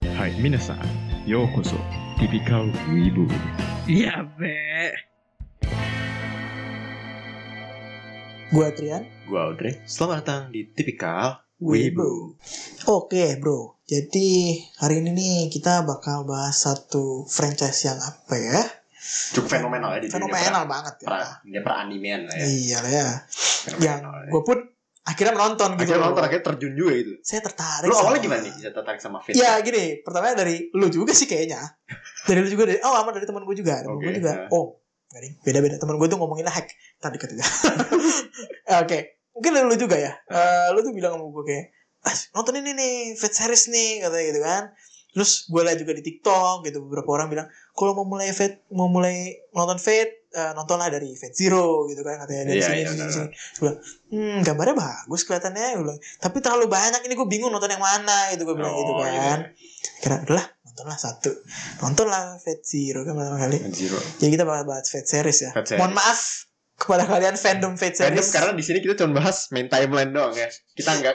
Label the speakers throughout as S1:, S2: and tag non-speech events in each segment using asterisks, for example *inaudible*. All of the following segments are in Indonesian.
S1: はい、皆さん、ようこそ、ティピカルウィーブ。
S2: Iya,
S3: やっべえ。
S4: Gua Trian.
S2: Gua Audrey, selamat datang di Tipikal Wibu.
S4: Wibu. Oke bro, jadi hari ini nih kita bakal bahas satu franchise yang apa ya?
S2: Cukup fenomenal ya di dunia
S4: Fenomenal banget
S2: pra,
S4: ya.
S2: pra, dunia peranimean lah ya.
S4: Iya lah ya. Yang
S2: Fenomenal ya.
S4: gue pun akhirnya menonton gitu.
S2: akhirnya
S4: loh.
S2: nonton, akhirnya terjun juga itu.
S4: Saya tertarik.
S2: Lu
S4: sama-
S2: awalnya gimana nih bisa tertarik sama Fate?
S4: Ya gini, pertama dari lu juga sih kayaknya. Dari lu juga dari oh sama dari teman gue juga, teman gue
S2: Oke,
S4: juga.
S2: ya.
S4: Oh, garing. Beda-beda teman gue tuh ngomongin hack tadi katanya. *laughs* Oke. Mungkin dari lu juga ya. Eh, lu tuh bilang sama gue kayak "Ah, nonton ini nih, Fat Series nih katanya gitu kan. Terus gue lihat juga di TikTok gitu beberapa orang bilang kalau mau mulai Fate, mau mulai nonton Fate, eh, nontonlah dari Fate Zero gitu kan katanya dari
S2: Iya,
S4: sini
S2: iya,
S4: sini
S2: benar,
S4: sini. Gue bilang, hmm gambarnya bagus kelihatannya. Gue bilang, tapi terlalu banyak ini gue bingung nonton yang mana gitu gue bilang
S2: Oh,
S4: gitu kan
S2: iya.
S4: kira udahlah nontonlah satu nontonlah Fate Zero kan pertama kali
S2: Zero.
S4: jadi kita bakal bahas Fate series ya
S2: Fate series.
S4: mohon maaf kepada kalian fandom Fate
S2: Random
S4: series
S2: karena di sini kita cuma bahas main timeline doang ya. Kita nggak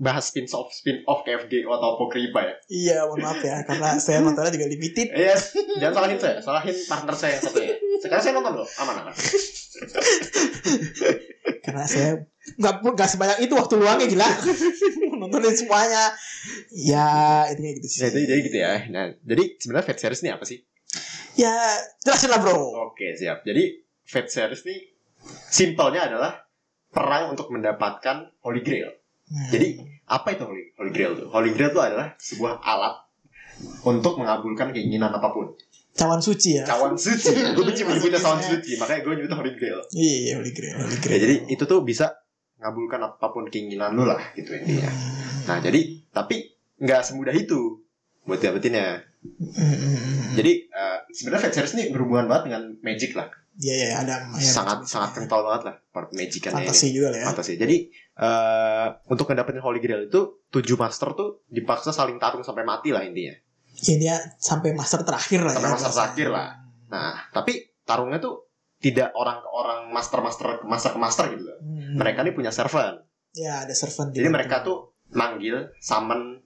S2: bahas spin off spin off ke FGO atau Pokriba ya.
S4: iya mohon maaf ya karena saya nontonnya juga limited
S2: Iya, jangan salahin saya, salahin partner saya yang satu ya. Sekarang saya nonton loh, aman aman.
S4: karena saya nggak nggak sebanyak itu waktu luangnya gila *laughs* nontonin semuanya ya intinya gitu sih
S2: Jadi jadi gitu ya. Nah, jadi sebenarnya Fate series ini apa sih?
S4: ya jelasin lah bro
S2: Oke siap. Jadi Fate series nih simpelnya adalah perang untuk mendapatkan Holy Grail.
S4: Hmm.
S2: Jadi apa itu Holy, Holy Grail tuh? Holy Grail itu adalah sebuah alat untuk mengabulkan keinginan apapun.
S4: cawan suci ya
S2: Cawan suci. *laughs* gue benci menyebutnya cawan suci, makanya gue nyebutnya Holy Grail.
S4: iya Holy Grail
S2: Ya,
S4: Holy Grail Hmm.
S2: jadi itu tuh bisa ngabulkan apapun keinginan lu lah gitu intinya. Nah jadi tapi nggak semudah itu buat dapetinnya.
S4: Hmm,
S2: Jadi eh, sebenarnya Fate series ini berhubungan banget dengan magic lah.
S4: iya iya ada ya,
S2: sangat sangat kental banget lah magikannya ini.
S4: fantasi juga lah ya
S2: Fantasi. Jadi eh untuk ngedapetin Holy Grail itu tujuh master tuh dipaksa saling tarung sampai mati lah intinya.
S4: ya dia sampai master terakhir lah
S2: Sampai
S4: ya.
S2: master terakhir lah. Nah, tapi tarungnya tuh tidak orang ke orang master master ke master ke master gitu loh.
S4: Hmm.
S2: Mereka nih punya servant.
S4: ya ada servant di
S2: Jadi
S4: bawah.
S2: mereka tuh manggil summon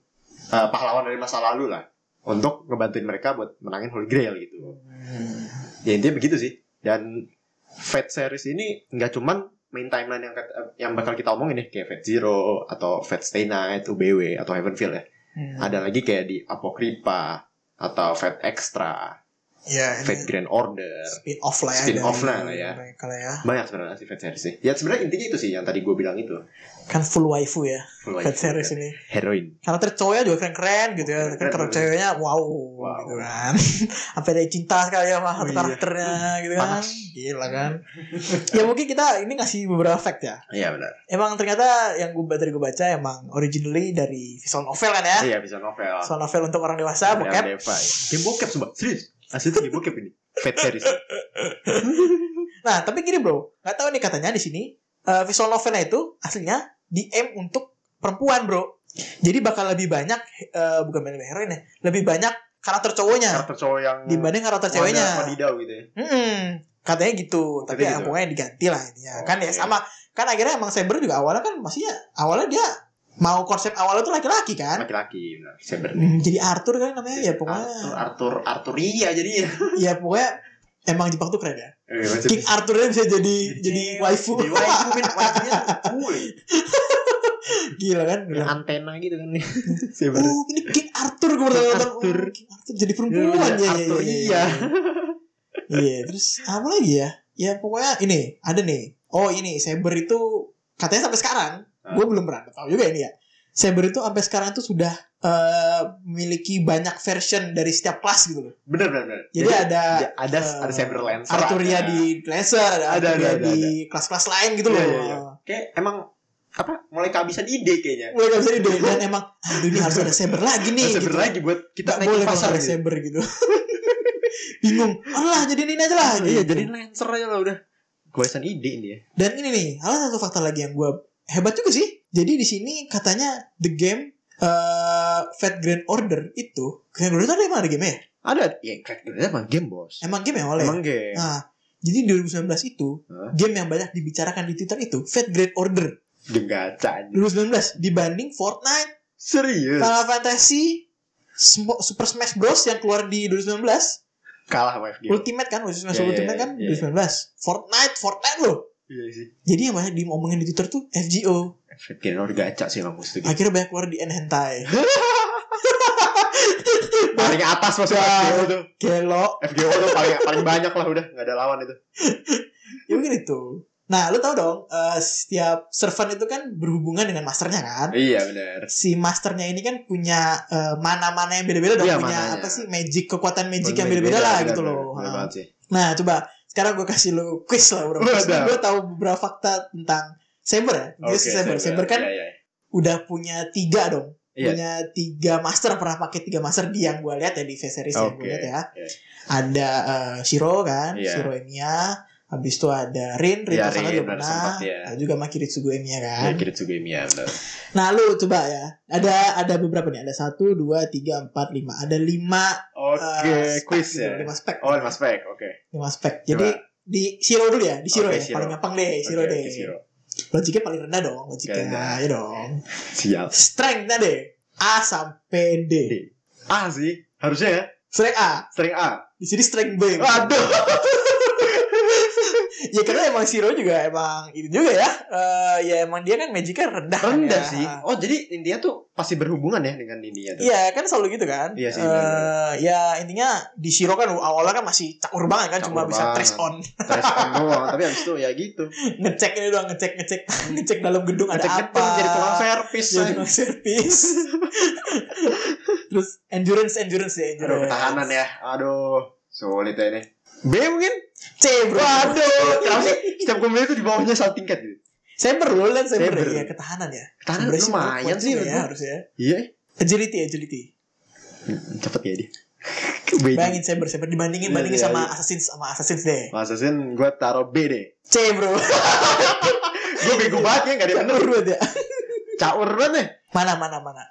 S2: eh, pahlawan dari masa lalu lah untuk ngebantuin mereka buat menangin Holy Grail gitu.
S4: Hmm.
S2: ya intinya begitu sih dan Fate series ini nggak cuman main timeline yang kat- yang bakal kita omongin ya kayak Fate Zero atau Fate Stay Night, UBW atau Heavenfield ya.
S4: Hmm.
S2: Ada lagi kayak di Apocrypha atau Fate Extra,
S4: ya
S2: Fate
S4: ini
S2: Grand Order.
S4: spin off lah ya
S2: Spin
S4: dari
S2: off lah lah ya.
S4: mereka lah ya
S2: Banyak sebenarnya sih Fate series sih. Ya sebenarnya intinya itu sih yang tadi gue bilang itu.
S4: kan full waifu ya
S2: Full
S4: Fat
S2: waifu,
S4: series
S2: kan.
S4: ini
S2: Heroin.
S4: karakter cowoknya juga keren-keren gitu ya
S2: Keren-keren.
S4: karakter ceweknya wow,
S2: Wow.
S4: gitu kan *laughs* sampai ada yang cinta sekali sama satu
S2: Oh, iya.
S4: karakternya gitu kan
S2: Panas.
S4: gila kan ya mungkin kita ini ngasih beberapa fact ya
S2: Iya benar.
S4: emang ternyata yang gue tadi gue baca emang originally dari visual novel kan ya
S2: Iya bisa novel.
S4: visual novel untuk orang dewasa
S2: Dari
S4: bokep
S2: Deva, ya. Game bokep sumpah. Serius. Asli itu game bokep ini. Fate series.
S4: Nah, tapi gini bro, nggak tahu nih katanya di sini eh, visual novelnya itu aslinya DM untuk perempuan bro. Jadi bakal lebih banyak eh, bukan main heroin ya, lebih banyak karakter cowoknya
S2: Karakter cowok yang
S4: dibanding karakter ceweknya.
S2: Wadidau gitu ya.
S4: Mm-mm. katanya gitu,
S2: Katanya
S4: tapi ya,
S2: gitu.
S4: pokoknya diganti lah intinya. Kan ya
S2: Oke.
S4: sama, kan akhirnya emang Saber juga awalnya kan maksudnya awalnya dia mau konsep awalnya tuh laki-laki kan.
S2: Laki-laki benar. Saber.
S4: Hmm, jadi Arthur kan namanya ya
S2: Arthur,
S4: pokoknya
S2: Arthur, Arturia jadinya.
S4: ya pokoknya emang Jepang tuh keren ya.
S2: Eh,
S4: King Arthurnya bisa jadi jadi waifu.
S2: Jadi waifu, men. Waifunya cool.
S4: *laughs* Gila kan?
S2: Ada antena gitu kan. Saber.
S4: Oh, ini King Arthur gue pernah nonton.
S2: Arthur.
S4: Oh, King Arthur jadi perempuan ya.
S2: Iya, Arthur,
S4: ya, ya,
S2: iya.
S4: ya. Iya, terus apa lagi ya? Ya pokoknya ini ada nih. Oh ini Saber itu katanya sampai sekarang,
S2: Ah.
S4: gue belum pernah tahu juga ini ya. Saber itu sampai sekarang itu sudah eh, memiliki banyak version dari setiap kelas gitu loh.
S2: Bener, bener, bener.
S4: Jadi, ada
S2: ada ada,
S4: eh,
S2: ada Saber Lancer.
S4: Arturia
S2: ada.
S4: di Lancer, ada,
S2: ya, Ada, ada,
S4: Arturia
S2: ada,
S4: di kelas-kelas lain gitu
S2: Iya,
S4: loh.
S2: iya, iya. Kayak emang apa? Mulai kehabisan ide kayaknya.
S4: Mulai gak bisa ide dan emang aduh ini harus ada Saber lagi nih.
S2: Iya, Saber
S4: gitu.
S2: lagi buat
S4: kita
S2: kita
S4: boleh
S2: naik
S4: pasar
S2: pasar gitu.
S4: Desember gitu. *laughs* Bingung. Alah jadi ini aja lah.
S2: Iya,
S4: gitu.
S2: jadi Lancer aja lah udah. Kehabisan ide ini ya.
S4: Dan ini nih, ada satu fakta lagi yang gue hebat juga sih. Jadi di sini katanya the game eh Fat Grand Order itu Grand Order itu ada emang ada game ya?
S2: Ada, ya kayak gitu emang game bos.
S4: Emang game ya oleh.
S2: Emang game.
S4: Nah, jadi 2019 itu
S2: Hah?
S4: game yang banyak dibicarakan di Twitter itu Fat Grand Order
S2: Game gacha aja.
S4: 2019 dibanding Fortnite, Ah.
S2: Serius.
S4: Final Fantasy, Smo- Super Smash Bros yang keluar di 2019
S2: Kalah sama FGO.
S4: Ultimate kan
S2: Iya,
S4: Ultimate,
S2: iya,
S4: Ultimate kan
S2: iya, iya.
S4: 2019 Fortnite Fortnite loh
S2: Iya sih.
S4: jadi yang banyak diomongin di Twitter tuh FGO
S2: Fetino udah gaca sih mampus tuh.
S4: akhirnya banyak keluar di N E.
S2: *laughs*
S4: hentai
S2: Paling atas maksudnya
S4: Wah.
S2: FGO tuh.
S4: gelo
S2: FGO tuh paling paling banyak lah udah nggak ada lawan itu.
S4: ya mungkin itu nah lu tau dong eh, setiap servant itu kan berhubungan dengan masternya kan
S2: Iya benar.
S4: si masternya ini kan punya eh, mana-mana yang beda-beda dong
S2: Iya,
S4: punya
S2: mananya.
S4: apa sih magic kekuatan magic yang beda-beda lah gitu loh
S2: Benar
S4: Nah,
S2: banget sih.
S4: nah coba sekarang gue kasih lu quiz lah bro
S2: Waduh.
S4: gue tahu beberapa fakta tentang Saber ya Dia si Saber Saber kan
S2: Iya, iya.
S4: udah punya tiga dong
S2: Iya.
S4: punya tiga master pernah pakai tiga master di yang gue lihat ya di face series yang gue
S2: Oke,
S4: lihat ya
S2: iya.
S4: ada eh, Shiro kan
S2: Iya.
S4: Shiro Emiya habis itu ada Rin Rin
S2: Iya,
S4: Persana
S2: Rin,
S4: juga
S2: baru
S4: pernah
S2: sempat, iya.
S4: ada juga sama Kiritsugu Emiya kan
S2: Ya, Kitsugemiya benar.
S4: nah lu coba ya ada ada beberapa nih ada satu dua tiga empat lima ada lima
S2: Oke,
S4: eh, spek
S2: quiz
S4: gitu,
S2: ya.
S4: lima spek
S2: Oh, lima spek. Oke.
S4: lima spek jadi di Shiro dulu ya di Shiro
S2: Oke,
S4: ya
S2: Shiro.
S4: paling gampang deh Shiro
S2: Oke,
S4: deh
S2: oke, Shiro.
S4: logiknya paling rendah dong
S2: Rendah.
S4: logiknya ya dong
S2: Siap.
S4: strength deh A sampai D.
S2: D. A sih. Harusnya ya.
S4: Strength A.
S2: String A.
S4: Di sini strength B.
S2: Waduh.
S4: ya karena emang Shiro juga emang ini juga ya. Eh, ya emang dia kan magicnya rendah. kan
S2: Rendah
S4: ya.
S2: sih. Oh, jadi intinya tuh pasti berhubungan ya dengan intinya tuh.
S4: Iya kan selalu gitu kan.
S2: Iya sih,
S4: Eh,
S2: benar-benar.
S4: ya intinya di Shiro kan awalnya kan masih cakur banget kan cuma
S2: Cakur
S4: bisa
S2: banget.
S4: trace on, *laughs*
S2: Respon doang. kan, Tapi abis itu ya gitu.
S4: ngecek ini doang ngecek ngecek *laughs* ngecek dalam gedung ada
S2: Ngecek-ngecek
S4: apa.
S2: jadi
S4: *laughs*
S2: tukang servis.
S4: jadi tukang servis. *laughs* Terus endurance endurance ya endurance.
S2: Aduh, ketahanan ya. Aduh, sulit ya ini. B mungkin?
S4: C bro.
S2: Waduh, kenapa sih? Setiap gue milih tuh di bawahnya satu tingkat gitu.
S4: Saber lo liat saber,
S2: Saber.
S4: ya ketahanan ya.
S2: Ketahanan
S4: Sebenarnya
S2: lumayan
S4: kuat
S2: sih.
S4: juga ya
S2: menurut
S4: harusnya.
S2: gua. Iya.
S4: Agility agility.
S2: Hmm, Cepet ya dia.
S4: Bayangin saber saber dibandingin
S2: Iya,
S4: bandingin
S2: iya,
S4: sama
S2: iya.
S4: assassins sama assassins deh.
S2: Assassin gue taruh B deh.
S4: C *laughs* bro.
S2: Gue bego banget ya, gak ada yang bener.
S4: Menurut ya.
S2: Caur banget ya.
S4: Mana mana mana.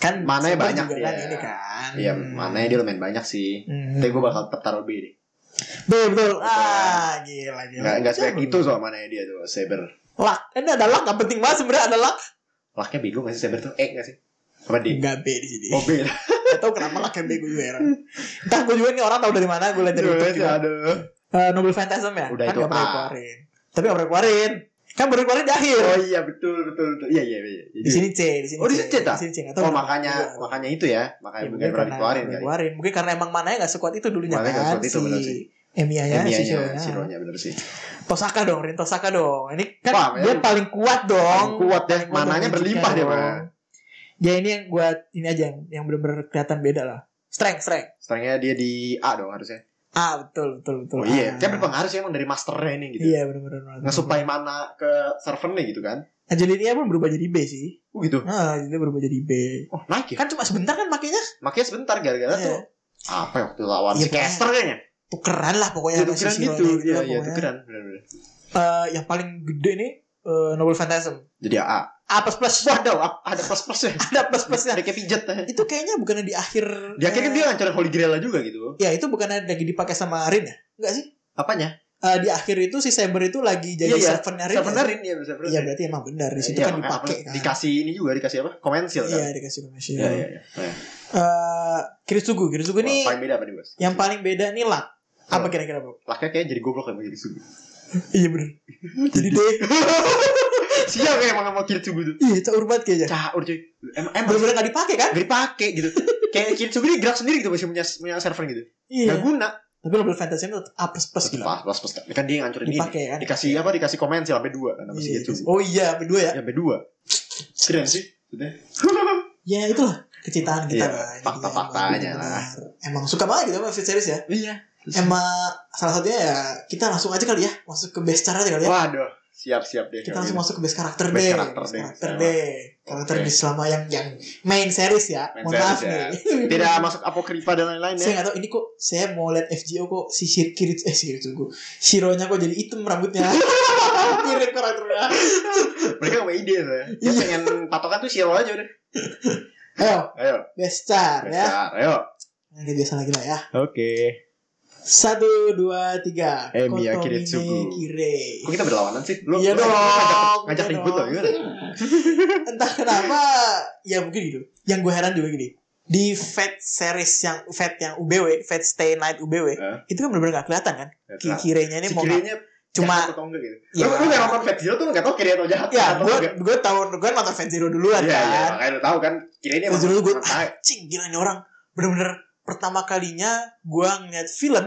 S4: Kan
S2: Mananya
S4: saber
S2: banyak
S4: juga
S2: dia.
S4: kan ini kan.
S2: Iya, mana dia lumayan banyak sih.
S4: Hmm.
S2: Tapi gue bakal tetap taruh B deh.
S4: Betul betul. Ah gila gila.
S2: Gak, gak
S4: Iya,
S2: sebaik itu soal mana dia tuh, Saber.
S4: Luck. Ini ada luck gak penting banget sebenarnya ada luck.
S2: Laknya bego gak sih Saber tuh? E gak sih? Apa D?
S4: Enggak B di sini. *laughs*
S2: Oh B lah.
S4: Gak tau kenapa luck yang B gue juga heran. Entah gue juga nih orang tau dari mana gue liat dari YouTube juga.
S2: Aduh.
S4: Eh, Nobel Phantasm
S2: Iya,
S4: ya?
S2: Udah
S4: kan
S2: itu Ah.
S4: gak
S2: A.
S4: pernah dikeluarin. Tapi gak pernah dikeluarin. Kan baru dikeluarin di akhir.
S2: Oh iya betul betul betul. Iya iya iya.
S4: di sini C di sini
S2: Oh, di sini C, tak?
S4: di sini C nggak tahu
S2: Oh
S4: kenapa.
S2: makanya
S4: Iya.
S2: makanya itu ya
S4: Ya,
S2: makanya bukan
S4: mungkin
S2: pernah
S4: karena
S2: dikeluarin
S4: nggak
S2: kali.
S4: dikeluarin. mungkin karena emang mananya nggak sekuat itu dulunya
S2: Mananya nggak
S4: kan
S2: sekuat itu, bener sih.
S4: si Emiya ya si Shiro
S2: Emianya, Shironya bener sih.
S4: Tosaka dong Rin Tosaka dong ini kan
S2: Wah,
S4: dia
S2: memang.
S4: paling kuat dong
S2: Paling kuat ya,
S4: dong,
S2: mananya
S4: magic-nya
S2: berlimpah dia,
S4: dong.
S2: Pak.
S4: ya ini yang gua ini aja yang yang benar-benar kelihatan beda lah strength strength
S2: Setengahnya dia di A dong harusnya.
S4: ah betul betul betul
S2: Oh
S4: Ah.
S2: iya, kan berpengaruh sih emang dari masternya ini gitu.
S4: iya benar-benar
S2: Ngesuplai mana ke servernya gitu kan.
S4: agility-nya pun berubah jadi B sih
S2: Oh gitu.
S4: ah itu berubah jadi B
S2: Oh naik ya.
S4: kan cuma sebentar kan makanya
S2: Makanya sebentar gara-gara
S4: Iya.
S2: tuh apa ya waktu lawan
S4: Iya,
S2: si Caster kayaknya.
S4: tukeran lah pokoknya
S2: Iya
S4: sama si
S2: tukeran
S4: Shiro
S2: gitu.
S4: nih,
S2: Iya
S4: lah
S2: iya
S4: pokoknya.
S2: tukeran. Bener-bener.
S4: Eh, yang paling gede nih eh, Noble Phantasm
S2: Jadi A.
S4: A plus plus
S2: Waduh, a- ada *laughs* plus-plusnya.
S4: *laughs* ada plus plusnya
S2: Ada kayak pijat. ya.
S4: itu kayaknya bukannya di akhir
S2: Di akhir kan
S4: eh,
S2: dia ngancurin Holy Grail juga gitu.
S4: ya itu bukannya lagi dipakai sama Rin ya enggak sih
S2: Apanya?
S4: Eh, di akhir itu si Saber itu lagi jadi
S2: Iya, iya.
S4: servantnya Rin ya?
S2: Servernya Rin ya servernya.
S4: iya berarti emang benar di situ
S2: Iya,
S4: kan
S2: makanya
S4: dipakai
S2: apa,
S4: kan
S2: Dikasih ini juga dikasih apa? Komensil kan.
S4: iya dikasih komisi
S2: Iya iya iya. Nah,
S4: Eh, Kiritsugu Kiritsugu nih
S2: paling beda apa nih, Bos?
S4: yang paling beda nih luck apa
S2: Hmm.
S4: kira-kira bro?
S2: Laki kayaknya jadi goblok sama jadi sugu.
S4: Iya bener Jadi D
S2: *laughs* Siap ya emang mau kiri sugu tuh.
S4: Iya caur banget kayaknya
S2: Caur cuy. Emang emang
S4: Bener-bener gak dipakai kan?
S2: gak dipakai gitu. Kayak kiri sugu dia gerak sendiri gitu masih punya punya server gitu. Gak
S4: Iya
S2: guna.
S4: Tapi Noble Phantasy itu A plus plus
S2: Pas
S4: gila
S2: pas pas pas. Kan dia yang ngancurin ini.
S4: Dipakai kan?
S2: Dikasih apa? Dikasih komen sih sampai dua kan sama si
S4: Iya,
S2: kiri sugu.
S4: Oh iya berdua ya
S2: Sampai dua. Keren sih.
S4: *laughs*
S2: Udah.
S4: ya itulah kecintaan kita
S2: Iya,
S4: lah Ini
S2: fakta-faktanya
S4: kita emang
S2: lah.
S4: benar-benar. emang suka banget gitu sama Fit Series ya
S2: Iya.
S4: emang salah satunya ya kita langsung aja kali ya masuk ke best cara aja kali ya
S2: Waduh. Siap siap deh.
S4: kita langsung masuk ke best karakter
S2: Best
S4: deh
S2: iya, karakter
S4: best
S2: deh,
S4: karakter
S2: sama.
S4: deh karakter
S2: Oke.
S4: di selama yang yang main series ya
S2: Main
S4: mohon
S2: series
S4: maaf
S2: ya.
S4: nih *laughs*
S2: Tidak masuk apokrifa dan lain-lain
S4: saya
S2: ya.
S4: nggak tahu ini kok saya mau lihat FGO kok si Shir Kirit eh Shir tunggu Shironya kok jadi hitam
S2: *laughs*
S4: rambutnya mirip karakternya
S2: Mereka gak ide saya. Dia
S4: Iya.
S2: pengen patokan tuh Shiro aja udah.
S4: ayo
S2: Ayo.
S4: best char
S2: Besar.
S4: ya
S2: Ayo.
S4: nanti biasa lagi lah ya
S2: Oke.
S4: satu dua tiga
S2: Emiya
S4: Kotomine
S2: Kiritsugu.
S4: Kire
S2: Kok Oh, kita berlawanan sih? Lu
S4: Iya
S2: lu
S4: dong,
S2: ngajak, ngajak
S4: iya *laughs*
S2: ribut Ya,
S4: dong.
S2: loh gimana?
S4: entah kenapa ya mungkin gitu yang gue heran juga gini di Fat series yang Fat yang UBW, Fat Stay Night UBW,
S2: Heeh.
S4: itu kan benar-benar nggak kelihatan kan?
S2: Ya,
S4: Ki-
S2: terang.
S4: Kirenya ini
S2: Si
S4: mau
S2: kirinya
S4: cuma
S2: jahat atau enggak gitu.
S4: Iya.
S2: Lu lu yang nonton Fat Zero tuh lu nggak tahu kiri atau jahat.
S4: ya
S2: atau
S4: gue
S2: enggak.
S4: gue tahun gue nonton Fat Zero duluan
S2: Iya, iya,
S4: kan.
S2: makanya lu tahu kan kirinya
S4: Fat Zero gue
S2: jahat.
S4: cing gila nih orang bener-bener pertama kalinya gue ngeliat film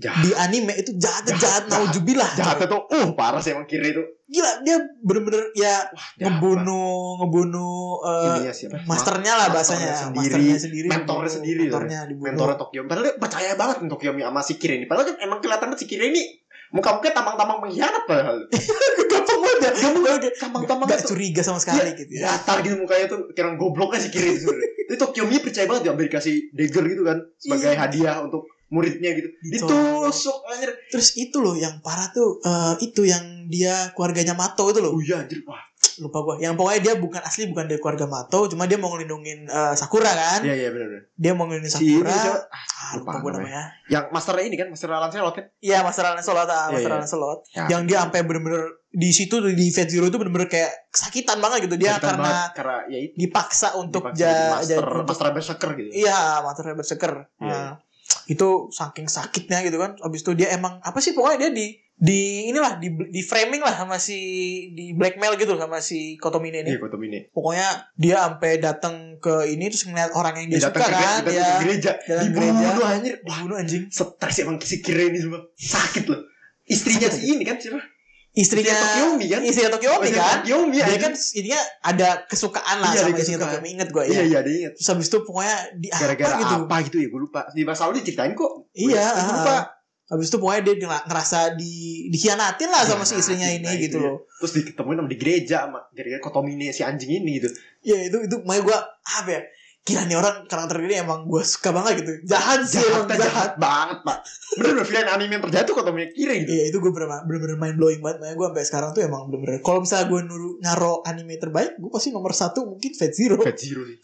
S2: Jahat.
S4: di anime itu jahat
S2: Jahat,
S4: jahat naujubilah
S2: Jahatnya tuh uh parah sih emang kiri itu.
S4: gila dia bener-bener ya
S2: Wah, jahat
S4: ngebunuh ngebunuh
S2: banget.
S4: eh,
S2: Ininya siapa?
S4: masternya lah
S2: Iya, Masternya
S4: bahasanya
S2: sendiri,
S4: masternya sendiri
S2: mentornya sendiri ya. lah.
S4: mentornya dibunuh
S2: mentornya Tokyo. Padahal dia percaya banget nih Tokyo sama si Kira ini. Padahal kan emang kelihatan banget si Kira ini muka-muka tamang-tamang pengkhianat
S4: *laughs*
S2: padahal.
S4: gampang banget ya gampang banget
S2: Tamang-tamang
S4: gak
S2: tuh
S4: curiga sama sekali gitu ya
S2: datar gitu mukanya tuh kira gobloknya si Kira itu. Itu Tokyo ini percaya banget ya dia ambil kasih dagger gitu kan sebagai
S4: Iya.
S2: hadiah untuk muridnya gitu. Ditusuk anjir.
S4: terus itu loh yang parah tuh eh, itu yang dia keluarganya Mato itu loh
S2: Oh iya anjir. Wah.
S4: lupa gua yang pokoknya dia bukan asli bukan dari keluarga Mato cuma dia mau ngelindungin eh, Sakura kan
S2: Iya iya benar benar.
S4: dia mau ngelindungin
S2: Si ini
S4: Sakura
S2: siapa?
S4: ah,
S2: lupa
S4: lupa gua
S2: namanya.
S4: namanya
S2: yang masternya ini kan master Lancelot kan.
S4: Iya Mas Ralan Solot, ah, Mas
S2: Iya, iya.
S4: Ralan Solot.
S2: Ya.
S4: Yang dia sampai bener-bener di situ tuh, di Fate Zero itu bener-bener kayak kesakitan banget gitu dia
S2: Kesakitan
S4: karena
S2: banget, karena ya itu
S4: dipaksa untuk
S2: dipakai
S4: ja,
S2: jadi
S4: ja-
S2: master
S4: untuk-
S2: master berserker gitu.
S4: iya masternya berseker.
S2: Iya.
S4: Nah, itu saking sakitnya gitu kan. Abis itu dia emang apa sih pokoknya dia di di inilah di, di framing lah sama si di blackmail gitu sama si Kotomine ini.
S2: Iya, Kotom ini.
S4: Pokoknya dia sampai datang ke ini terus ngeliat orang yang dia,
S2: Dia
S4: suka
S2: datang ke gereja,
S4: kan,
S2: datang
S4: ya
S2: ke gereja,
S4: Jalan
S2: dibunuh anjir. Wah,
S4: dibunuh anjing.
S2: stres emang si Kira ini semua sakit loh istrinya
S4: Sakit.
S2: si ini kan siapa
S4: Istrinya
S2: Istrinya Tokyomi kan?
S4: Istrinya Tokyomi kan?
S2: Yomi
S4: dia
S2: anjir.
S4: kan intinya ada kesukaan
S2: Iya,
S4: lah
S2: ada
S4: sama isinya
S2: kesukaan.
S4: Tokyomi inget gue ya
S2: iya iya dia ingat
S4: terus habis itu pokoknya di
S2: gara-gara
S4: apa gitu
S2: apa gitu ya gue lupa di masa lalu diceritain kok
S4: iya
S2: Gua
S4: ah.
S2: lupa
S4: habis itu pokoknya dia ngera- ngerasa di dikhianatin lah sama si istrinya
S2: Dikhianatin,
S4: ini
S2: nah,
S4: gitu
S2: itu ya.
S4: loh
S2: terus diketemuin sama di gereja sama gara-gara kotomine si anjing ini gitu
S4: ya itu itu makanya gue apa ya gila nih orang karakter ini emang gue suka banget gitu jahat sih
S2: jahat
S4: emang
S2: jahat,
S4: jahat
S2: banget pak bener bener film anime yang terjatuh kotomine kiri gitu
S4: Iya itu gue bener bener mind blowing banget Makanya gue sampai sekarang tuh emang bener-bener Kalau misalnya gue nuru naro anime terbaik Gue pasti nomor satu mungkin Fate Zero
S2: Fat Zero sih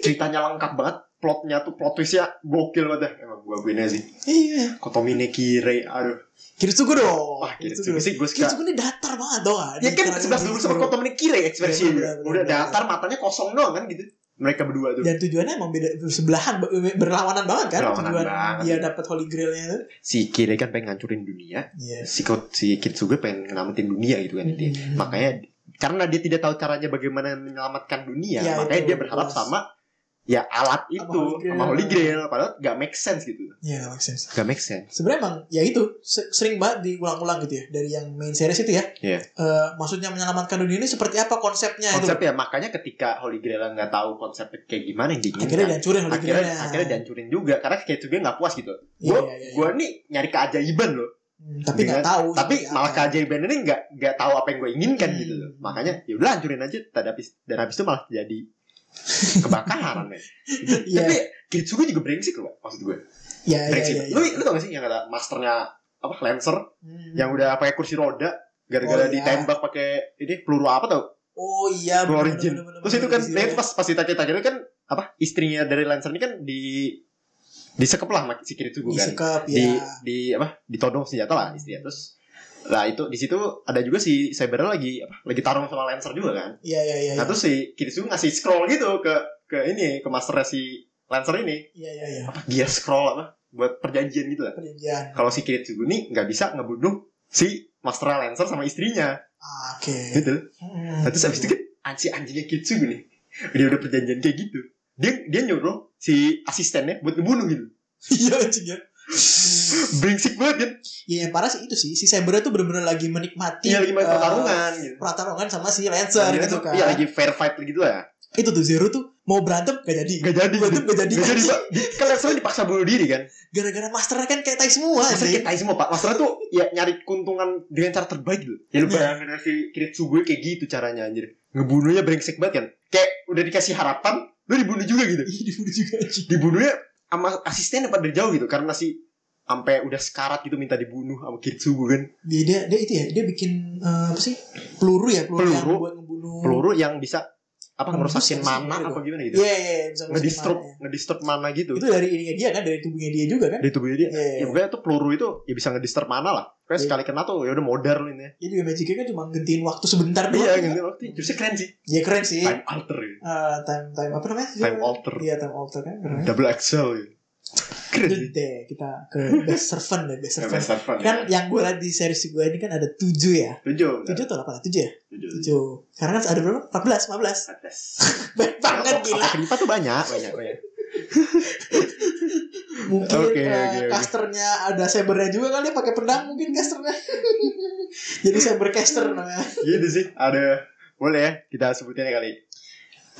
S2: ceritanya lengkap banget plotnya tuh plot twistnya gokil banget dah. emang gue akuin aja sih
S4: Iya
S2: kotomine kiri aduh
S4: Kiritsugu dong
S2: wah kiri
S4: Kiritsugu
S2: sih gue suka
S4: Kiritsugu ini datar banget dong ah.
S2: Ya
S4: Di
S2: kan
S4: karakter
S2: sebelas dulu sama
S4: Kiritsugu.
S2: kota kiri ekspresinya.
S4: Benar, benar,
S2: ya Udah
S4: benar.
S2: datar matanya kosong doang kan gitu. Mereka berdua tuh.
S4: dan tujuannya emang beda sebelahan ber- berlawanan banget kan
S2: Berlawanan
S4: tujuan
S2: banget.
S4: dia dapat holy grailnya itu
S2: Si Kire kan pengen ngancurin dunia,
S4: iya
S2: si Ko- si Kitsuge pengen nyelamatin dunia gitu kan intinya.
S4: Hmm.
S2: Makanya karena dia tidak tahu caranya bagaimana menyelamatkan dunia,
S4: Ya,
S2: makanya
S4: itu,
S2: dia berharap
S4: jelas.
S2: sama ya alat
S4: Holy
S2: itu
S4: Grail.
S2: sama Holy Grail padahal gak make sense gitu
S4: iya nggak make sense
S2: gak make sense
S4: sebenarnya emang ya itu se- sering banget diulang-ulang gitu ya dari yang main series itu ya
S2: Iya.
S4: Eh, maksudnya menyelamatkan dunia ini seperti apa konsepnya itu
S2: konsepnya makanya ketika Holy Grail nggak tahu konsepnya kayak gimana yang
S4: akhirnya
S2: diinginkan
S4: dihancurin holy
S2: akhirnya
S4: grailnya
S2: akhirnya dihancurin juga karena Kitsuge nggak puas gitu
S4: Iya,
S2: gue
S4: iya, iya.
S2: gue nih nyari keajaiban loh
S4: Hmm, tapi nggak
S2: Dengan-
S4: tahu
S2: tapi
S4: seperti
S2: malah
S4: apa.
S2: keajaiban ini nggak nggak tahu apa yang gue inginkan
S4: iya. Hmm.
S2: gitu loh makanya ya udah hancurin aja dan habis dan habis itu malah
S4: *laughs*
S2: jadi kebakaran men
S4: Iya.
S2: tapi Kitsugo juga brengsek loh maksud gue
S4: ya, ya,
S2: brengsek
S4: ya, ya.
S2: lu lu tau gak sih yang kata masternya apa lancer
S4: Hmm.
S2: yang udah pakai kursi roda gara-gara
S4: Oh, iya.
S2: ditembak pakai ini peluru apa tau
S4: oh iya
S2: peluru
S4: bener,
S2: origin
S4: bener, bener,
S2: terus itu
S4: bener,
S2: kan
S4: bener,
S2: dia
S4: bener.
S2: pas pas ditanya-tanya kan apa istrinya dari lancer ini kan di disekep lah sama si Kitsugo kan
S4: disekap
S2: di
S4: ya
S2: di apa ditodong senjata lah istilah terus lah itu di situ ada juga si Cyber lagi apa lagi tarung sama Lancer juga kan
S4: iya iya iya
S2: nah terus si Kiritsugu ngasih scroll gitu ke ke ini ke masternya si Lancer ini
S4: iya iya iya
S2: dia scroll apa buat perjanjian gitu lah
S4: perjanjian
S2: kalau si Kiritsugu nih nggak bisa ngebunuh si Master Lancer sama istrinya
S4: Ah, oke
S2: gitu
S4: Hmm.
S2: nah, terus habis itu kan anjing anjingnya Kiritsugu nih dia udah perjanjian kayak gitu dia dia nyuruh si asistennya buat ngebunuh gitu
S4: *laughs* iya anjing ya
S2: brengsek banget kan
S4: Iya yang parah sih itu sih si Saber tuh bener-bener lagi menikmati
S2: dia Iya, lagi main
S4: eh,
S2: pertarungan gitu
S4: pertarungan sama si Lancer
S2: Iya,
S4: gitu
S2: tuh,
S4: kan.
S2: Iya lagi fair fight gitu lah.
S4: Itu tuh Zero tuh mau berantem gak jadi.
S2: Gak jadi.
S4: Berantem gak jadi.
S2: Gak jadi pak. Di- Kan Lexer dipaksa bunuh diri kan.
S4: Gara-gara masternya kan kayak tai semua.
S2: Master
S4: anjing.
S2: kita semua pak. Master tuh ya nyari keuntungan dengan cara terbaik gitu. Ya lu
S4: Iya.
S2: bayangin si Kiritsugu kayak gitu caranya anjir. Ngebunuhnya brengsek banget kan. Kayak udah dikasih harapan, lu dibunuh juga gitu.
S4: Ih, dibunuh juga anjing.
S2: Dibunuhnya sama asisten pada dari jauh gitu karena si sampai udah sekarat gitu minta dibunuh sama Kiritsugu kan.
S4: Dia, dia, dia itu ya, dia bikin eh, apa sih? Peluru ya, peluru, yang
S2: Peluru.
S4: buat ngebunuh.
S2: Peluru yang bisa apa
S4: Menembus
S2: ngerusakin
S4: apa sih?
S2: mana apa gimana gitu.
S4: Iya, iya, iya, bisa masuk
S2: Ngedisturb,
S4: kemana ya.
S2: ngedisturb mana gitu.
S4: Itu dari ininya dia kan, dari tubuhnya dia juga kan.
S2: Di tubuhnya dia.
S4: Iya,
S2: Ya pokoknya tuh peluru itu ya bisa ngedisturb mana lah. Kayak sekali kena tuh ya udah modar lu ini.
S4: Jadi Magic kan cuma gantiin waktu sebentar doang.
S2: Iya ganti waktu. Justru keren sih.
S4: Ya keren sih.
S2: Time alter ya.
S4: Eh, time time apa namanya?
S2: Time alter.
S4: Iya time alter kan keren.
S2: Double axel ya. Keren
S4: Lanjut
S2: sih.
S4: deh kita ke best servant deh
S2: Iya.
S4: best servant.
S2: Semester fun.
S4: Kan yang gue lihat di series gue ini kan ada 7 ya.
S2: Tujuh.
S4: 7 atau 8? 7 ya?
S2: Tujuh.
S4: 7. Karena ada berapa? 14, 15.
S2: *laughs* Atas.
S4: Banyak banget
S2: Apa-
S4: gila.
S2: apa Kenapa tuh banyak banyak banyak.
S4: Mungkin
S2: Oke,
S4: eh,
S2: oke, oke.
S4: casternya ada sabernya juga kali ya, pakai pedang mungkin casternya. *laughs* Jadi saber caster namanya.
S2: Gitu sih ada boleh ya kita sebutin kali.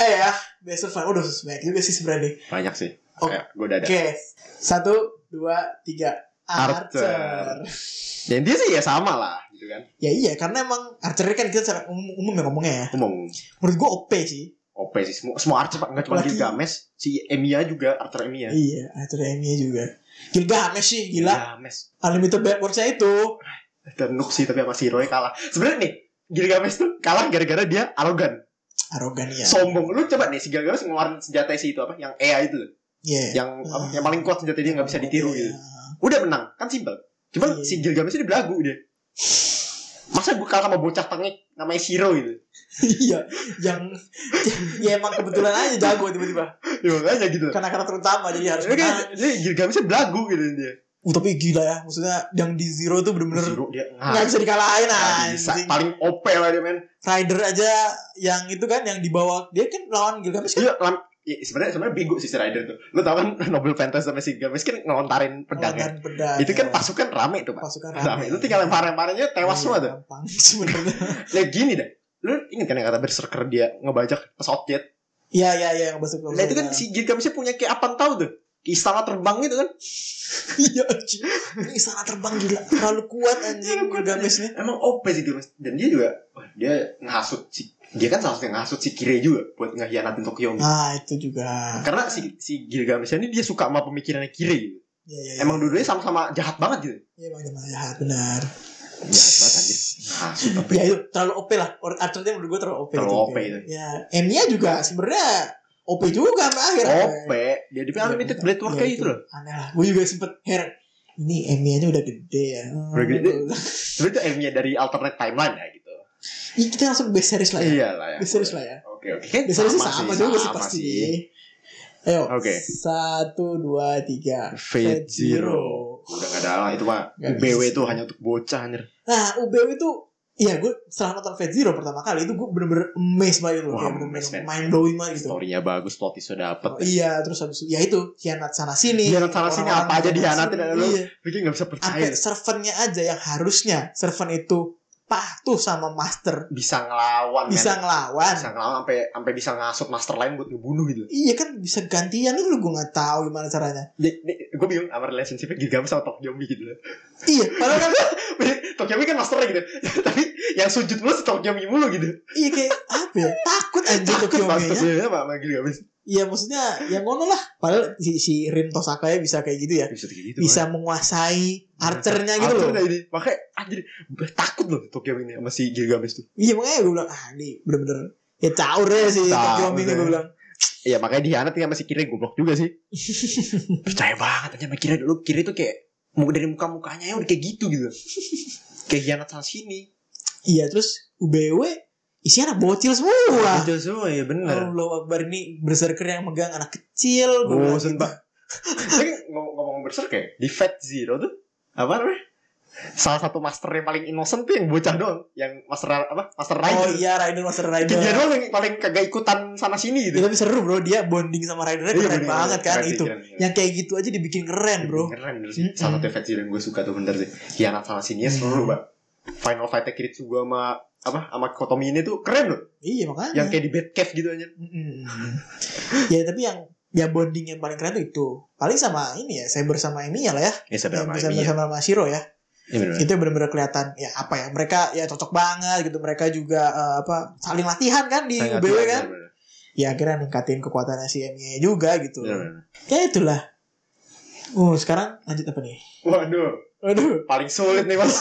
S4: Eh ya, best servant. Udah banyak juga sih sebenarnya.
S2: Banyak sih.
S4: Oh.
S2: Kayak gue udah ada.
S4: Oke, satu, dua, tiga.
S2: Archer.
S4: Archer.
S2: Ya dia sih ya sama lah gitu kan.
S4: Ya iya, karena emang Archer ini kan kita secara umum, umum ya ngomongnya ya.
S2: Ngomong
S4: Menurut gue OP sih.
S2: OP sih semua semua Archer pak nggak cuma
S4: Apalagi-
S2: Gilgamesh si Emiya juga Archer Emiya.
S4: Iya, Archer Emi juga. Gilgamesh sih, gila.
S2: Gilgamesh.
S4: Unlimited backwards-nya itu.
S2: Dan Nuk sih tapi sama si Roy kalah. Sebenarnya nih Gilgamesh tuh kalah gara-gara dia arogan,
S4: Arogan ya.
S2: sombong. Lu coba nih si Gilgamesh ngeluarin senjata si itu apa? Yang EA itu, loh.
S4: Iya.
S2: yang apa, yang paling kuat senjata dia nggak bisa ditiru
S4: Iya.
S2: gitu. Udah menang, kan simpel. Cuman
S4: Iya.
S2: si Gilgamesh ini belagu dia. Masa gue kalah sama bocah tengik namanya Shiro gitu.
S4: *laughs*
S2: *laughs*
S4: Iya, yang ya emang kebetulan aja jago tiba-tiba.
S2: Ya makanya gitu.
S4: Karena karakter utama jadi Kan harus
S2: Jadi kan
S4: menang.
S2: jadi Gilgamesh belagu gitu dia.
S4: Uh, tapi gila ya, maksudnya yang di Zero tuh bener-bener
S2: Shiro dia
S4: nggak
S2: nggak
S4: bisa dikalahin
S2: bisa.
S4: anjing.
S2: Paling OP lah dia men.
S4: Rider aja yang itu kan yang dibawa dia kan lawan Gilgamesh kan
S2: Iya, lam, ya, sebenarnya sebenarnya bingung sih si Rider tuh. Lu tau kan *laughs* Nobel Fantasy sama si Gilgamesh kan ngelontarin pedangnya.
S4: lawan pedang.
S2: itu kan
S4: ya.
S2: pasukan rame tuh, Pak.
S4: pasukan
S2: Rame. Itu tinggal lempar-lemparannya tewas semua tuh.
S4: Gampang *laughs* sebenarnya.
S2: Ya gini dah. Lu inget kan yang kata berserker dia ngebajak pesawat jet?
S4: Iya iya iya yang masuk.
S2: Nah itu kan si Gilgamesh punya kayak apa tau tuh. Kayak Istana terbang gitu kan.
S4: *laughs* Iya anjing. Ini istana terbang gila. Terlalu kuat anjing
S2: Terlalu kuat.
S4: Gilgameshnya.
S2: Emang OP sih Gilgamesh. Dan dia juga, wah, dia ngehasut si, dia kan seharusnya ngehasut si Kire juga buat ngehianatin Tokyo.
S4: Nah itu juga.
S2: Karena si, si Gilgamesh ini dia suka sama pemikirannya Kire gitu.
S4: Iya iya. iya.
S2: Emang dua-duanya sama-sama jahat banget gitu.
S4: Iya emang emang jahat benar.
S2: Jahat banget anjir. Ngehasut tapi.
S4: Ya itu terlalu OP lah. Or- Arthur dia menurut gue terlalu OP.
S2: Terlalu
S4: gitu.
S2: OP itu.
S4: Ya, Emnya juga sebenarnya OP juga sampai akhir.
S2: OP. Dia di
S4: Iya,
S2: unlimited
S4: benar.
S2: blade work
S4: Iya,
S2: kayak gitu loh.
S4: Aneh lah. Gue juga sempet heran. Ini Emnya aja udah gede ya. Hmm.
S2: Udah gede. Sebenernya itu aimnya dari alternate timeline ya gitu.
S4: Ih, kita langsung ke best series lah ya.
S2: Iya lah ya.
S4: Best series lah ya.
S2: Oke oke. Kan
S4: Best series sih sama, juga sih pasti. Ayo.
S2: Oke.
S4: Satu, dua, tiga.
S2: Fate Zero. Udah gak ada lah itu mah.
S4: Nggak
S2: BW
S4: bisa.
S2: itu hanya untuk bocah anjir.
S4: Nah, UBW itu Iya, gue setelah nonton Fate Zero pertama kali itu gue bener-bener amazed banget gitu loh.
S2: Wah,
S4: Kayak bener-bener
S2: amazed, man.
S4: mind blowing banget gitu.
S2: Story-nya bagus, plotnya sudah dapet.
S4: Oh, iya, terus habis itu, ya itu hianat sana sini.
S2: Hianat sana sini,
S4: Orang-orang
S2: apa aja
S4: hianat
S2: dihanatin,
S4: sini.
S2: ada lu.
S4: Iya.
S2: Bikin gak bisa
S4: Sampai
S2: percaya.
S4: servantnya aja yang harusnya servant itu patuh sama master,
S2: Bisa ngelawan men.
S4: bisa ngelawan.
S2: Bisa ngelawan sampai sampai bisa ngasut master lain buat ngebunuh gitu.
S4: Iya kan bisa gantian itu gue nggak tahu gimana caranya.
S2: Gue bingung sama relationship-nya Gilgamesh sama Tokyomi gitu *laughs* loh.
S4: Iya, padahal kan
S2: Tokyomi kan masternya gitu. *laughs* Tapi yang sujud mulu si Tokyomi mulu gitu.
S4: iya kayak apa ya? Takut anjir
S2: Takut
S4: Tokyo-nya.
S2: masternya sama Gilgamesh.
S4: Iya maksudnya yang ngono lah. Padahal si, si Rin Tosaka ya bisa kayak gitu ya.
S2: Bisa kayak gitu.
S4: Bisa menguasai archernya gitu
S2: Arthur
S4: loh.
S2: dah ini. Makanya anjir gue takut loh Tokyo ini sama si Gilgamesh tuh.
S4: Iya makanya gue bilang ah ini bener-bener ya caur ya sih
S2: Caur
S4: Tokyo ini
S2: ya.
S4: gue bilang.
S2: Iya makanya dihanat nih sama si Kire goblok juga
S4: *laughs*
S2: sih. Percaya banget aja sama Kire dulu. Kire tuh kayak mau dari muka-mukanya ya udah kayak gitu gitu. kayak hianat sana sini.
S4: Iya terus UBW isinya anak bocil
S2: Iya,
S4: semua.
S2: Itu semua
S4: iya,
S2: ya bener.
S4: Allah Akbar ini berserker yang megang anak kecil. gua bilang
S2: Bosen
S4: gitu.
S2: Oh, pak. Tapi ngom- ngomong berser kayak di Fat Zero tuh apa namanya? Salah satu master yang paling innocent tuh yang bocah doang, yang master apa? Master
S4: Oh
S2: Rider.
S4: iya Rider Master Rider.
S2: Kayak Dia doang yang paling kagak ikutan sana sini
S4: Ya,
S2: gitu. Iya,
S4: tapi seru bro dia bonding sama Ridernya keren
S2: bener,
S4: banget
S2: bener.
S4: kan
S2: Keren sih,
S4: itu.
S2: keren, keren.
S4: Yang kayak gitu aja dibikin keren bro.
S2: Keren bener sih.
S4: Mm-mm.
S2: Salah satu fans yang gue suka tuh bener sih. Hianat sama sini seru mbak. Final fight Kiritsu gue sama apa sama Kotomi ini tuh keren loh.
S4: Iya makanya.
S2: Yang kayak di Batcave gitu aja.
S4: Mm-mm. ya tapi yang ya bonding yang paling keren tuh itu. Paling sama ini ya Cyber sama Emiya lah ya.
S2: Ya
S4: Yang bersama sama Mashiro ya. Itu benar-benar kelihatan ya apa ya mereka ya cocok banget gitu. Mereka juga eh, apa saling latihan kan di UBW kan. Ya akhirnya ningkatin kekuatannya si Emiya juga gitu.
S2: Iya.
S4: Ya itulah. Uh, sekarang lanjut apa nih?
S2: Waduh,
S4: Waduh,
S2: paling sulit nih
S4: *laughs*
S2: mas.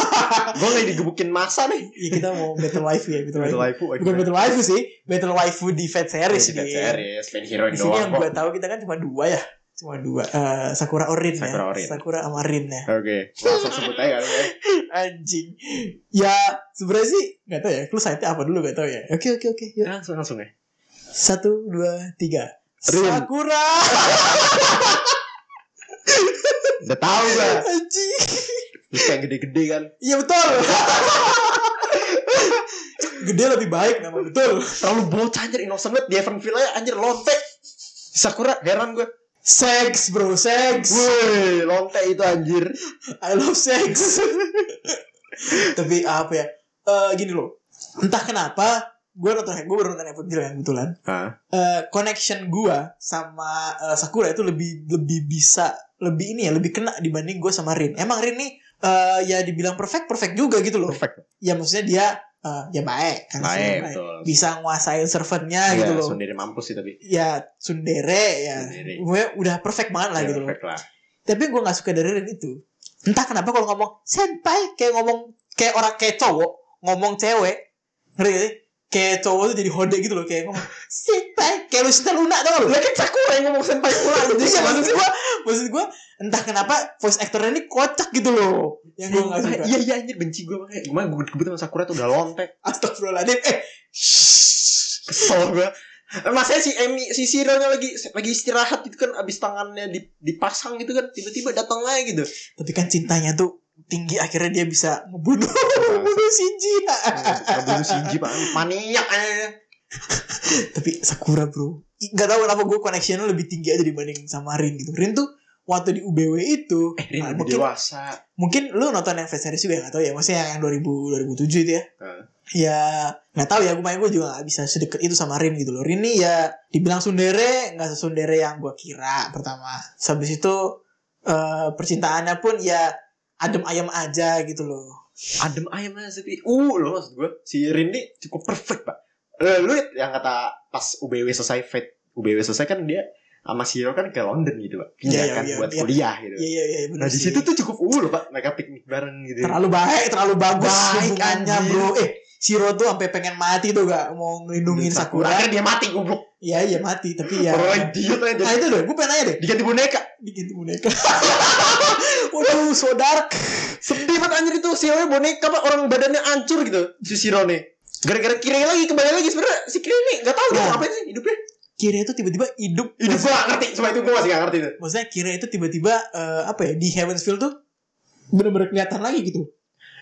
S2: gue lagi digebukin masa nih.
S4: ya kita mau battle wife ya, battle
S2: Betul
S4: wife.
S2: waifu.
S4: Bukan battle waifu sih, battle waifu di Fate series
S2: Series,
S4: di.
S2: series, main hero
S4: Di sini yang
S2: doang
S4: gue
S2: kok.
S4: tahu kita kan cuma dua ya. Cuma dua. Eh, Sakura Orin
S2: Sakura
S4: ya.
S2: Orin.
S4: Sakura Amarin ya. *laughs*
S2: Oke, langsung sebut aja kali ya.
S4: Anjing. Ya sebenarnya sih nggak tahu ya. Lu site apa dulu nggak tahu ya. Oke oke oke. Yuk.
S2: Langsung langsung ya.
S4: Satu dua tiga.
S2: Rin.
S4: Sakura.
S2: Udah tahu gak?
S4: *laughs* Anjing.
S2: Terus yang gede-gede kan.
S4: Iya betul. Gede lebih baik nama betul.
S2: Terlalu bocah anjir innocent banget di Evanville aja anjir lonte. Sakura heran gue.
S4: Sex bro, sex.
S2: Woi, lonte itu anjir.
S4: I love sex. Tapi apa ya? Eh gini loh. Entah kenapa gue nonton gue baru nonton Evangelion kan kebetulan.
S2: Hah?
S4: Eh, connection gue sama eh, Sakura itu lebih lebih bisa lebih ini ya lebih kena dibanding gue sama Rin. Emang Rin nih eh, ya dibilang perfect perfect juga gitu loh.
S2: Perfect.
S4: Ya maksudnya dia eh, ya baik kan
S2: Baik, betul.
S4: Bisa nguasain servernya
S2: Ya,
S4: gitu loh.
S2: sendiri mampus sih tapi.
S4: ya sundere ya.
S2: Sundere.
S4: Gue udah perfect banget lah
S2: Ya,
S4: gitu loh.
S2: Perfect lah.
S4: Tapi gue gak suka dari Rin itu. Entah kenapa kalau ngomong senpai kayak ngomong kayak orang kayak cowok ngomong cewek. Ngerti gak sih? Kayak cowok tuh jadi hode gitu loh kayak ngomong senpai kayak Lucinta Luna tau gak lu?
S2: Lagi Sakura yang ngomong senpai pula *laughs* anjir.
S4: Iya maksud gue maksud gue entah kenapa voice actornya ini kocak gitu loh. Yang gue gak suka.
S2: Iya iya anjir benci gue makanya. Gimana gue kebetulan sama Sakura tuh udah lonte.
S4: Astagfirullahaladzim. Eh.
S2: kesel gue masanya si Emi si Siranya lagi lagi istirahat gitu kan abis tangannya di- dipasang gitu kan tiba-tiba datang aja
S4: *laughs*
S2: gitu
S4: Tapi kan cintanya tuh tinggi akhirnya dia bisa ngebunuh
S2: Iya.
S4: *laughs* ngebunuh Shinji.
S2: Ngebunuh Shinji Pak. ah, maniak aja
S4: Tapi Sakura bro I- Gak tau kenapa gue connectionnya lebih tinggi aja dibanding sama Rin gitu Rin tuh waktu di UBW itu nah,
S2: Eh,
S4: mungkin,
S2: dewasa
S4: mungkin lu nonton yang fans series juga gak tau ya Maksudnya yang 2000, 2007 itu ya
S2: Heeh.
S4: Ya gak tau ya gue main gue juga gak bisa sedekat itu sama Rin gitu loh Rin nih ya dibilang sundere Gak sesundere yang gue kira pertama Terus Habis itu eh, percintaannya pun ya adem ayem aja gitu loh
S2: adem ayam aja tapi uh lo maksud gue si Rini cukup perfect pak Eh, lu liat yang kata pas UBW selesai Fate UBW selesai kan dia sama si Hiro kan ke London gitu pak pindah
S4: Iya, iya,
S2: kan
S4: iya,
S2: buat
S4: iya.
S2: kuliah gitu
S4: Iya iya iya bener
S2: nah di
S4: sih.
S2: situ tuh cukup uh lo pak mereka piknik bareng gitu
S4: terlalu baik terlalu bagus
S2: Baik,
S4: hubungannya
S2: anjir.
S4: bro eh Shiro tuh sampai pengen mati tuh gak mau ngelindungin Sakura.
S2: akhirnya dia mati goblok
S4: Iya iya mati tapi ya.
S2: orang idiot aja dia.
S4: Nah itu deh, gue pengen nanya deh,
S2: diganti boneka
S4: diganti boneka. *laughs* Waduh, so dark.
S2: Sedih banget anjir itu si Awe boneka apa orang badannya hancur gitu si Shirone. Gara-gara kira lagi kembali lagi sebenarnya si kira ini nggak tahu dia
S4: Nah.
S2: ngapain sih hidupnya.
S4: Kira itu tiba-tiba hidup.
S2: Hidup gua nggak ngerti, cuma itu gua masih nggak ngerti itu.
S4: Maksudnya Kira itu tiba-tiba eh, apa ya di Heavensfield tuh bener-bener kelihatan lagi gitu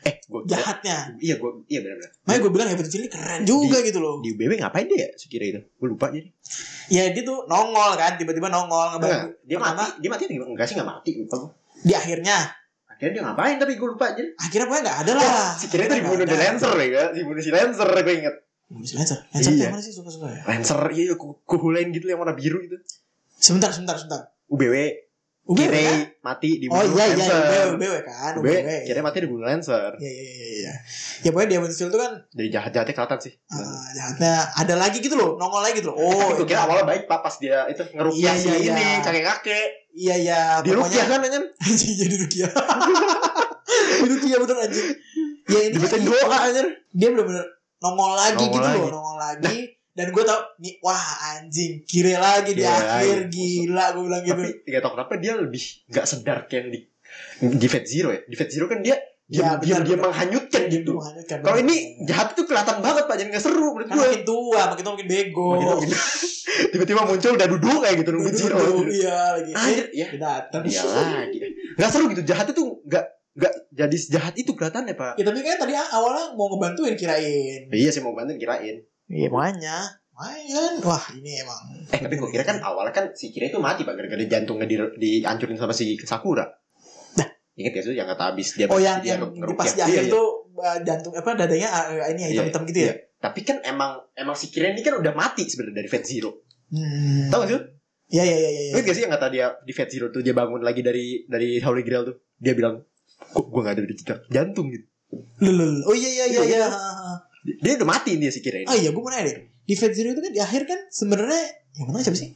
S2: Eh, gua gua-
S4: jahatnya.
S2: Iya, gua iya benar-benar.
S4: Makanya gue bilang Heavensfield ini keren juga gitu loh.
S2: Di UBB ngapain dia ya si kira itu? Gua lupa jadi.
S4: Ya dia tuh nongol kan, tiba-tiba
S2: Nah,
S4: nongol ngebantu.
S2: dia
S4: Pertama,
S2: mati, dia mati atau gimana? Enggak sih enggak mati, lupa gua.
S4: Di akhirnya,
S2: Akhirnya dia ngapain tapi gua lupa jadi.
S4: akhirnya pokoknya nggak ada lah.
S2: si kira itu dibunuh di
S4: Nggak ada.
S2: Lancer ya, kan? dibunuh si Lancer gua inget.
S4: Belum sih Lancer. Lancer
S2: Iya.
S4: tuh yang mana sih suka-suka ya?
S2: Lancer iya ku- kuhulain gitu yang warna biru itu.
S4: Sebentar, sebentar, sebentar.
S2: UBW,
S4: Ubi kan?
S2: kira mati
S4: Oh
S2: dibunuh
S4: iya iya
S2: Lancer.
S4: UBW, UBW kan.
S2: UBW,
S4: UBW.
S2: kira mati dibunuh Lancer.
S4: Iya iya iya iya. Ya pokoknya di Avengers itu kan
S2: Dari jahat-jahatnya kelihatan sih.
S4: eh, jahatnya ada lagi gitu loh, nongol lagi gitu loh.
S2: Hmm. Oh,
S4: Oh,
S2: itu kira awalnya baik pak pas dia itu
S4: Iya,
S2: ngerupiah si
S4: iya, iya.
S2: ini kakek-kakek.
S4: iya iya
S2: Di rupiah
S4: pokoknya
S2: kan anjir.
S4: *laughs* anjing jadi Rukia. Di Rukia bener anjing. Ya ini
S2: Dibetin doa anjir.
S4: dia bener-bener nongol lagi
S2: Nongol
S4: gitu loh,
S2: lagi.
S4: nongol lagi. Dan gue tau nih wah anjing kiri lagi di
S2: Kiri
S4: akhir
S2: lagi.
S4: gila gue bilang gitu.
S2: Iya, Tapi gak tau kenapa dia lebih gak sedar yang di di Fate Zero ya. Di Fate Zero kan dia dia dia,
S4: bener,
S2: dia
S4: bener.
S2: menghanyutkan
S4: Dia
S2: gitu.
S4: menghanyutkan,
S2: Kalau
S4: bener.
S2: ini jahat itu kelihatan banget pak jadi gak seru menurut
S4: kan
S2: gue.
S4: makin tua, makin tua makin bego.
S2: Makin- makin-
S4: Oh.
S2: Tiba-tiba muncul udah duduk kayak gitu nungguin Zero.
S4: Duduk, Iya lagi.
S2: Anjir ya.
S4: Eh, datang.
S2: Dia lagi. Gak seru gitu jahat itu gak gak jadi jahat itu kelihatannya pak.
S4: Ya tapi kan tadi awalnya mau ngebantuin kirain.
S2: Iya sih mau bantuin kirain.
S4: Iya makanya. Main. Wah ini emang.
S2: Eh tapi gue kira kan awalnya kan si Kira itu mati pak gara-gara jantungnya di, dihancurin sama si Sakura. Ingat ya tuh yang kata habis dia
S4: Nah. Oh yang
S2: dia
S4: yang
S2: ngerukyah.
S4: pas di
S2: Iya,
S4: akhir
S2: iya.
S4: tuh uh, jantung apa dadanya uh, ini ya
S2: Iya,
S4: hitam-hitam gitu ya.
S2: iya. Tapi kan emang emang si Kira ini kan udah mati sebenarnya dari Fate Zero.
S4: Hmm.
S2: Tahu gak sih? lu?
S4: Iya iya iya iya.
S2: Ingat gak sih yang kata dia di Fate Zero tuh dia bangun lagi dari dari Holy Grail tuh. Dia bilang kok gue gak ada di jejak jantung gitu.
S4: Lulul. Oh iya iya
S2: Iya,
S4: iya iya.
S2: iya.
S4: Ha, ha, ha.
S2: Dia dia udah mati dia si Kira
S4: Oh
S2: ini.
S4: iya gue mau nanya deh. Di Fate Zero itu kan di akhir kan sebenarnya yang menang siapa sih?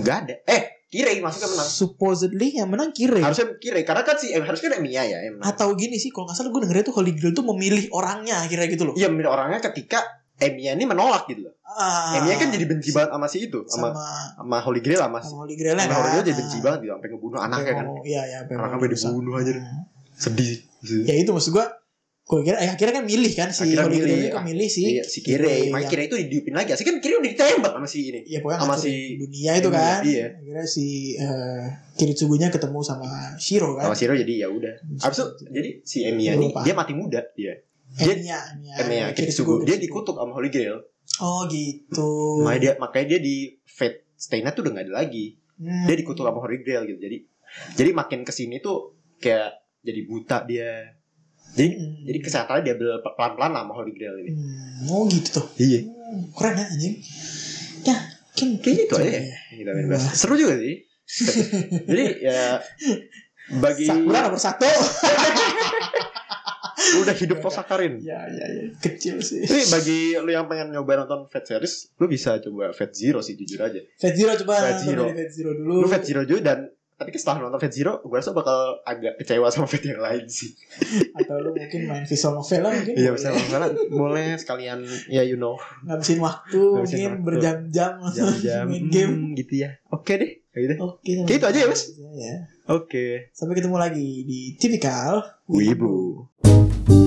S2: Gak ada. Eh Kira maksudnya menang.
S4: Supposedly yang menang Kirei.
S2: Harusnya Kira karena kan si eh, harusnya kan Mia ya yang menang.
S4: Atau gini sih kalau nggak salah gue dengernya tuh Holy Grail tuh memilih orangnya akhirnya gitu loh.
S2: Iya memilih orangnya ketika Emia ini menolak gitu loh.
S4: Ah,
S2: Emia kan jadi benci banget sama si itu, sama
S4: sama
S2: sama Holy Grail sama si.
S4: sama Holy Grail
S2: Sama
S4: kan.
S2: Holy Grail jadi benci banget gitu, sampai ngebunuh anaknya kan.
S4: Oh, Iya, iya.
S2: Anaknya sampai dibunuh aja. deh. Sedih.
S4: Ya itu maksud gue. Gue kira eh, akhirnya kan milih kan si
S2: Akhirnya
S4: Holy
S2: milih,
S4: Grail itu
S2: ah,
S4: milih si.
S2: Iya, si Kirei. Makanya
S4: yang-
S2: Kirei itu didiupin lagi. Asli kan Kirei udah ditembak sama si ini.
S4: Iya pokoknya
S2: Sama
S4: ngatur
S2: si-
S4: dunia itu
S2: Iya,
S4: kan.
S2: iya.
S4: Akhirnya si eh, Kiritsugunya ketemu sama Shiro kan.
S2: Sama Shiro jadi ya udah. Abis itu jadi si Emiya ini
S4: Iya. Lupa. Iya.
S2: dia mati muda dia. dia-
S4: Emiya, Emiya,
S2: Emiya Kitsugu dia dikutuk sama Holy Grail.
S4: Oh gitu.
S2: Makanya dia makanya dia di Fate Stay Night tuh udah gak ada lagi.
S4: Hmm.
S2: Dia dikutuk sama Holy Grail gitu. Jadi jadi makin kesini tuh kayak jadi buta dia. Jadi
S4: Hmm.
S2: jadi kesehatannya dia pelan-pelan lah sama Holy Grail ini.
S4: Hmm, Oh gitu tuh.
S2: Iya.
S4: Hmm, Keren ya anjing. Ya, kan
S2: Kayaknya itu aja ya. yang Kita main bahas. Seru juga
S4: *laughs*
S2: sih. jadi ya bagi
S4: Sakura nomor satu.
S2: lu udah hidup posakarin.
S4: ya ya ya. Kecil sih.
S2: Iya, Tapi bagi lu yang pengen nyoba nonton Fat Series, lu bisa coba Fat Zero sih jujur aja.
S4: Fat Zero coba
S2: Fat
S4: nonton
S2: Zero.
S4: dari Fat Zero dulu.
S2: Lu Fat Zero juga dan tapi setelah nonton Fat Zero, gue rasa bakal agak kecewa sama *laughs* Fat yang lain sih.
S4: Atau lu mungkin main visual novel lah mungkin.
S2: Iya, bisa masalah. Boleh sekalian, ya you know,
S4: Ngabisin waktu,
S2: Ngabisin
S4: mungkin
S2: waktu.
S4: berjam-jam
S2: jam-jam
S4: *laughs* main game.
S2: hmm, gitu ya. Oke deh, kayak gitu.
S4: Oke, sampai
S2: Gitu aja ya,
S4: ketemu
S2: Mas?
S4: Ya.
S2: Oke.
S4: Sampai ketemu lagi di Tipikal
S2: Wibu.